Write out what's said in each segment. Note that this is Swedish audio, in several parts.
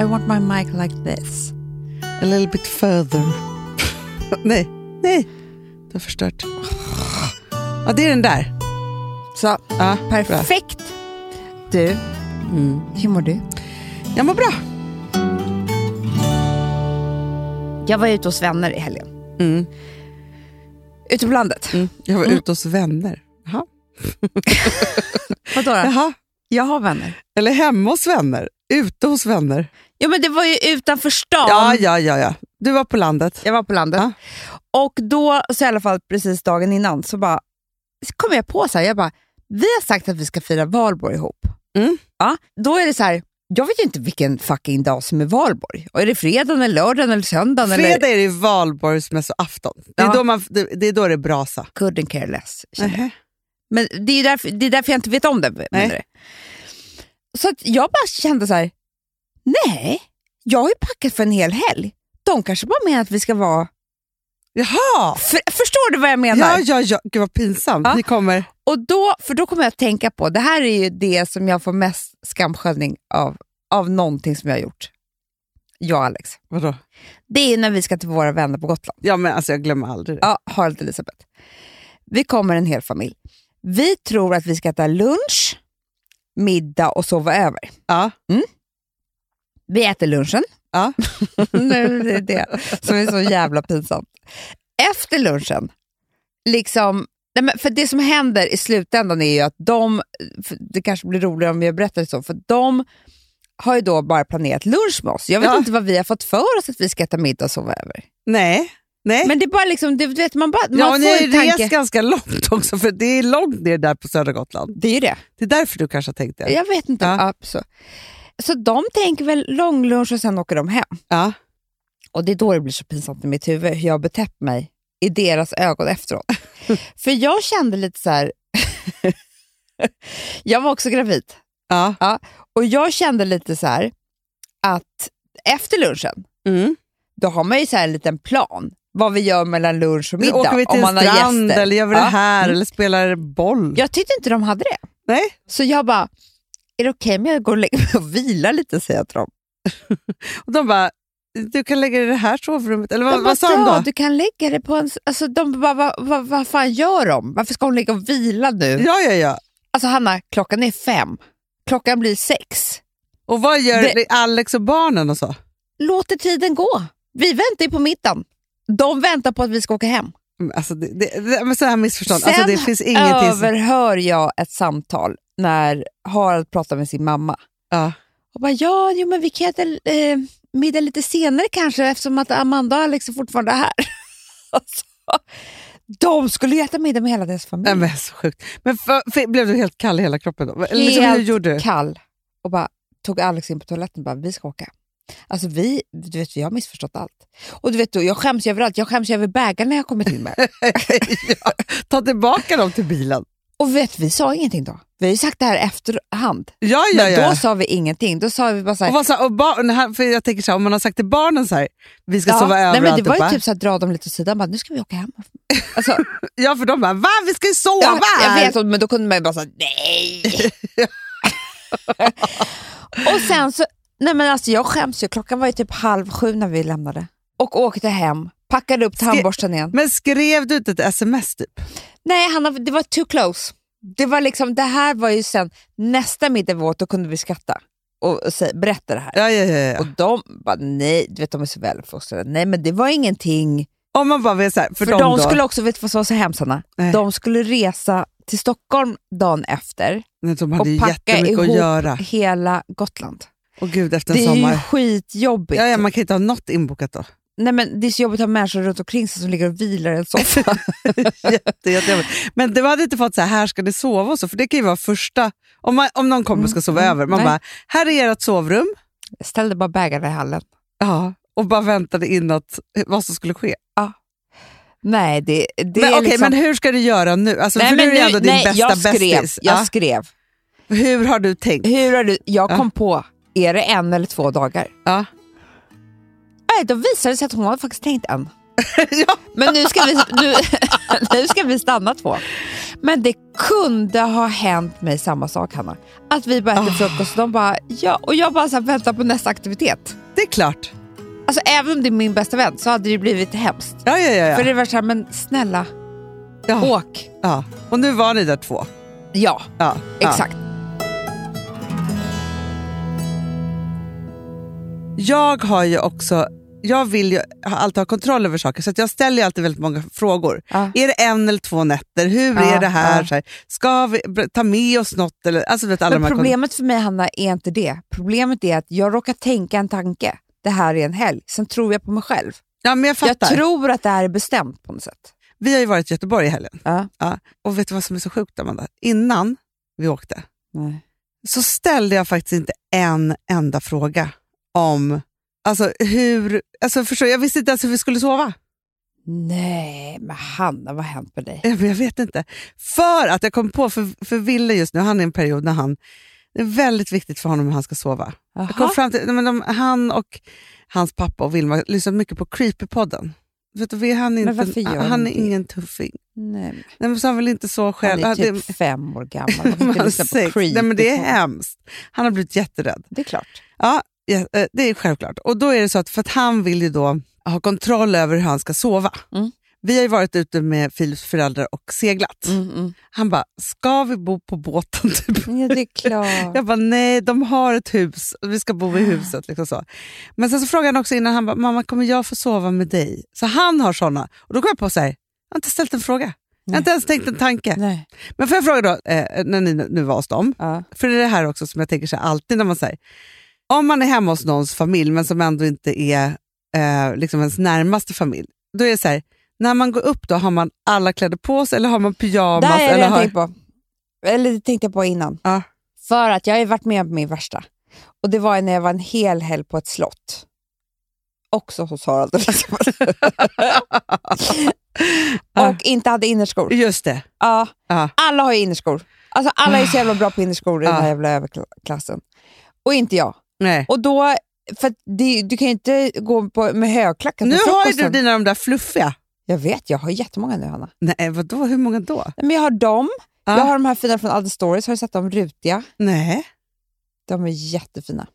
I want my mic like this. A little bit further. nej, nej. Du har förstört. Ja, det är den där. Så, Ja, bra. perfekt. Mm. Du, hur mår du? Jag mår bra. Jag var ute hos vänner i helgen. Mm. Ute på landet. Mm. Jag var ute hos vänner. Jaha. Vadå då? Jaha. Jag har vänner. Eller hemma hos vänner. Ute hos vänner. Ja men det var ju utanför stan. Ja, ja, ja. ja. Du var på landet. Jag var på landet. Ja. Och då, så i alla fall precis dagen innan, så bara så kom jag på så här, jag bara, vi har sagt att vi ska fira valborg ihop. Mm. Ja, då är det så här, jag vet ju inte vilken fucking dag som är valborg. Och är det fredagen, eller lördagen eller söndagen? Eller? Fredag är det ju valborgsmässoafton. Det, är Ja. då man- det, det är då det är brasa. Couldn't care less. känner jag. Nähä. Men det är, därför, det är därför jag inte vet om det. menar du? Så att jag bara kände så här, nej, jag har ju packat för en hel helg. De kanske bara menar att vi ska vara... Jaha! För, förstår du vad jag menar? Ja, ja, ja. Gud vad pinsamt. Ja. Ni kommer... Och då, för då kommer jag att tänka på, det här är ju det som jag får mest skamsköljning av, av någonting som jag har gjort. Jag och Alex. Vadå? Det är när vi ska till våra vänner på Gotland. Ja, men alltså jag glömmer aldrig det. Ja, Harald och Elisabeth. Vi kommer en hel familj. Vi tror att vi ska äta lunch, middag och sova över. Ja. Vi äter lunchen. Ja. nu är det det som är så jävla pinsamt. Efter lunchen, liksom, nej men för det som händer i slutändan är ju att de, för det kanske blir roligare om jag berättar det så, för de har ju då bara planerat lunch med oss. Jag vet Ja. inte vad vi har fått för oss att vi ska äta middag och sova över. Nej. Nej. Men det är bara liksom, det, du vet, man, bara, man Eh. ja, och ni får har en ju tanke. rest ganska långt också, för det är långt ner där på södra Gotland. Det är ju det. Det är därför du kanske har tänkt det. Jag vet inte. Ja. Ja. så. så de tänker väl långlunch och sen åker de hem. Ja. Och det är då det blir så pinsamt i mitt huvud hur jag har betett mig i deras ögon efteråt. För jag kände lite så här... jag var också gravid. ja. Och jag kände lite så här att efter lunchen, Mm. då har man ju så här en liten plan. Vad vi gör mellan lunch och middag. åker vi till om en man har strand gäster. eller gör vi det Ja. här Mm. eller spelar boll. Jag tyckte inte de hade det. Nej. Så jag bara, är det okej om jag går och lägger mig och vilar lite, säger jag till dem. Och de bara, du kan lägga dig i det här sovrummet. Eller vad, de bara, vad sa de ja, då? du kan lägga det på en... Alltså, de bara, vad, vad, vad fan gör de? Varför ska hon ligga och vila nu? Ja, ja, ja. Alltså Hanna, klockan är fem. Klockan blir sex. Och vad gör Det- Alex och barnen och så? Låter tiden gå. Vi väntar ju på middagen. De väntar på att vi ska åka hem. Men Alltså, det, det, det, men så här missförstånd. Sen Alltså, det finns ingenting som... Överhör jag ett samtal när Harald pratar med sin mamma. Ja. Och bara, ja, jo, men vi kan äta eh, middag lite senare kanske eftersom att Amanda och Alex är fortfarande här. alltså, de skulle ju äta middag med hela deras familj. Nej, men så sjukt. Men för, för, blev du helt kall i hela kroppen då? Liksom, hur Helt gjorde du? kall och bara tog Alex in på toaletten och bara, vi ska åka. Alltså vi, du vet, vi har missförstått allt. Och du vet, då, jag skäms ju över allt. Jag skäms ju över bägarna jag kommit in med. ja, ta tillbaka dem till bilen. och vet, vi sa ingenting då. Vi har ju sagt det här efterhand. Ja, ja, Men ja. då sa vi ingenting. Då sa vi bara så här, Och vad så, och barn, här- för jag tänker så här, om man har sagt till barnen så här, vi ska ja, sova över nej, men och Det var ju alltihopa. typ så här, dra dem lite åt sidan. Bara, nu ska vi åka hem. Alltså, Ja, för de bara, va? Vi ska ju sova ja, jag här! vet, men då kunde man ju bara säga nej. och sen så, nej men alltså jag skäms ju. Klockan var ju typ halv sju när vi lämnade. Och åkte hem, packade upp tandborsten igen. Men skrev du inte ett sms typ? Nej, Hanna, det var too close. Det var liksom, det här var ju sen, nästa middag vi åt, då kunde vi skratta och, och säga, berätta det här. Ja, ja, ja, ja. Och de bara, nej, du vet de är så väluppfostrade. Nej men det var ingenting. Om man bara vill så här, för, För, dem de då. skulle också, vet du vad som var så hemskt Hanna? Nej. De skulle resa till Stockholm dagen efter. Nej, de hade ju och packa jättemycket att ihop göra. hela Gotland. Och gud, efter en Det är ju sommar. skitjobbigt. Ja, ja, man kan inte ha något inbokat då. Nej, men det är så jobbigt att ha människor runt omkring sig som ligger och vilar i en soffa. Jätte, jättejobbigt. Men du hade inte fått så här, här ska ni sova och så, för det kan ju vara första, om, man, om någon kommer och ska sova Mm, över, man nej. bara, här är ert sovrum, Jag ställde bara bägarna i hallen. ja. och bara väntade in att, vad som skulle ske. Nej, det, det men är okej, liksom... men hur ska du göra nu? Alltså, nej, för men du är ju ändå din nej, jag bästa skrev, bästis. Jag Ja. skrev. Hur har du tänkt? Hur har du... Jag Ja. kom på, är det en eller två dagar? Ja. Nej, då visade det sig att hon hade faktiskt tänkt en. ja. Men nu ska vi, nu, nu ska vi stanna två. Men det kunde ha hänt mig samma sak, Hanna. Att vi bara äter Ah. frukost och de bara, ja. Och jag bara så här, väntar på nästa aktivitet. Det är klart. Alltså även om det är min bästa vän så hade det blivit hemskt. Ja, ja, ja. För ja. det var så här, men snälla, ja, åk. ja. Och nu var ni där två. Ja, Ja, ja. exakt. Jag har ju också, jag vill ju ha- alltid ha kontroll över saker så att jag ställer ju alltid väldigt många frågor. Ja. Är det en eller två nätter? Hur Ja, är det här? ja. Så här? Ska vi br- ta med oss något? Eller, alltså, du vet, alla de Men här kon- problemet för mig, Hanna, är inte det. Problemet är att jag råkar tänka en tanke. Det här är en helg. Sen tror jag på mig själv. ja, men jag fattar. Jag tror att det här är bestämt på något sätt. Vi har ju varit i Göteborg i helgen. Ja. Och vet du vad som är så sjukt Amanda? Innan vi åkte så ställde jag faktiskt inte en enda fråga om Alltså hur, alltså förstår, du, jag visste inte ens hur vi skulle sova. Nej, men Hanna, vad har hänt med dig? Ja, men Jag vet inte. För att jag kom på, för, för Ville just nu, han är i en period när han, det är väldigt viktigt för honom hur han ska sova. Jag kom Jaha. fram till, nej, men de, han och hans pappa och Vilma lyssnar mycket på Creepypodden. Vet du, vi- han är, Men inte, varför gör han de är det? ingen tuffing. Nej, men Nej, men så han vill inte så själv. han är Ja, det- typ fem år gammal. Man kan inte Man lyssna på sex. Nej, men det är creepy. hemskt. Han har blivit jätterädd. Det är klart. Ja, ja, eh, det är självklart. Och då är det så att, för att han vill ju då ha kontroll över hur han ska sova. Mm. Vi har ju varit ute med Filips föräldrar och seglat. Mm, mm. Han bara, ska vi bo på båten? Typ. Ja, det är klart. Jag bara, nej, de har ett hus. Vi ska bo i huset. Liksom så. Men sen så frågade han också innan, han bara, mamma kommer jag få sova med dig? Så han har såna. Och då kom jag på så här, jag har inte ställt en fråga. Jag har inte ens tänkt en tanke. Nej. Men får jag fråga då, eh, när ni nu var hos dem, Ja. för det är det här också som jag tänker så här, alltid när man säger, om man är hemma hos någons familj men som ändå inte är eh, liksom ens närmaste familj, då är det så här, när man går upp då har man alla kläder på sig eller har man pyjamas? Där har jag eller redan har... tänkt på. Eller det tänkte jag på innan. Ja. För att jag har ju varit med om min värsta. Och det var ju när jag var en hel helg på ett slott. Också hos Harald. Ja. och inte hade innerskor. Just det. Ja, Ja. alla har ju innerskor. Alltså alla är så jävla bra på innerskor i den Ja. här jävla överklassen. Och inte jag. Nej. Och då, för att det, du kan ju inte gå på, med högklackat Nu på har ju du frukosten. dina de där fluffiga. Jag vet, jag har jättemånga nu Hanna. Nej, vadå? Hur många då? Men jag har dem, Ja. jag har de här fina från Other Stories, har du sett dem rutiga? Nej. De är jättefina.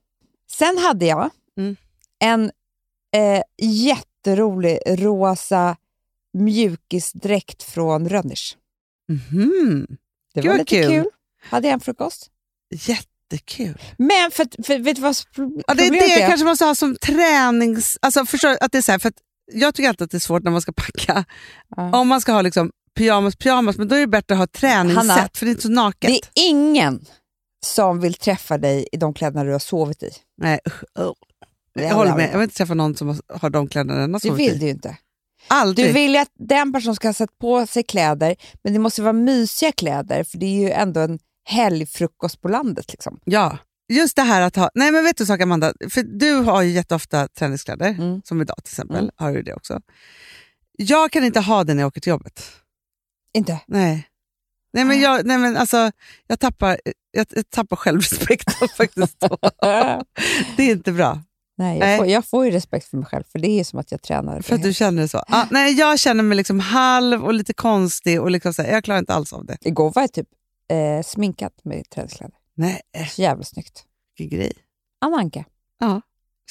Sen hade jag Mm. en eh, jätterolig rosa mjukisdräkt från Rönners. Mhm. Det Gud, var vad lite kul. kul. Hade jag en frukost. Jättekul. Men för, att- för vet du vad problemet Ja, det är det är? jag kanske måste ha som tränings... Alltså, förstår, att det är så här, för att jag tycker alltid att det är svårt när man ska packa. Ja. Om man ska ha liksom pyjamas, pyjamas, men då är det bättre att ha träningssätt Hanna, för det är inte så naket. Det är ingen som vill träffa dig i de kläderna du har sovit i. Nej, usch, usch. Oh, Det jag håller aldrig med. Jag vill inte träffa någon som har de kläderna den har Du sovit vill i. det ju inte. Aldrig. Du vill ju att den personen ska ha satt på sig kläder, men det måste vara mysiga kläder för det är ju ändå en helgfrukost på landet. Liksom. Ja. Just det här att ha... Nej, men vet du en sak Amanda? För du har ju jätteofta träningskläder, Mm. som idag till exempel. Mm. Har du det också. Jag kan inte ha det när jag åker till jobbet. Inte? Nej. Nej men jag, nej, men alltså, jag, tappar, jag, jag tappar självrespekten faktiskt då. Det är inte bra. Nej, jag, Nej. Får, jag får ju respekt för mig själv, för det är ju som att jag tränar. För att du känner det så. Ah, nej, jag känner mig liksom halv och lite konstig och liksom så här, jag klarar inte alls av det. Igår var jag typ eh, sminkad med träningskläder. Nej, Så jävla snyggt. vilken grej. Anna Anka.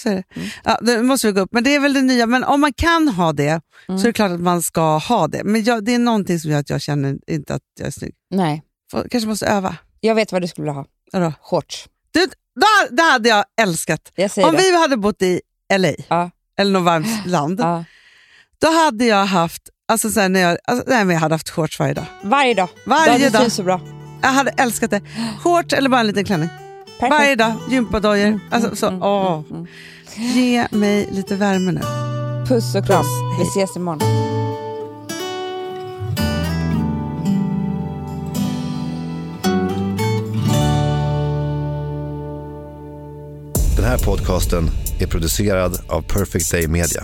Så är det. Mm. Ja, nu måste vi gå upp, men det är väl det nya. Men om man kan ha det Mm. så är det klart att man ska ha det. Men jag, det är någonting som gör att jag känner inte att jag är snygg. Nej, Får- Kanske måste öva. jag vet vad du skulle vilja ha. Vadå? Shorts. Du, då, det hade jag älskat. Jag säger om det. vi hade bott i LA Ja. eller något varmt land, Ja. då hade jag haft Alltså så här, när jag, alltså, nej, men jag hade haft shorts varje dag. Varje dag. Varje Du dag. trivs så bra. Jag hade älskat det. Shorts eller bara en liten klänning. Perfekt. Varje dag, gympadojor. Alltså, så, mm, åh. mm. Ge mig lite värme nu. Puss och kram. Puss. Vi Hej. ses imorgon. Den här podcasten är producerad av Perfect Day Media.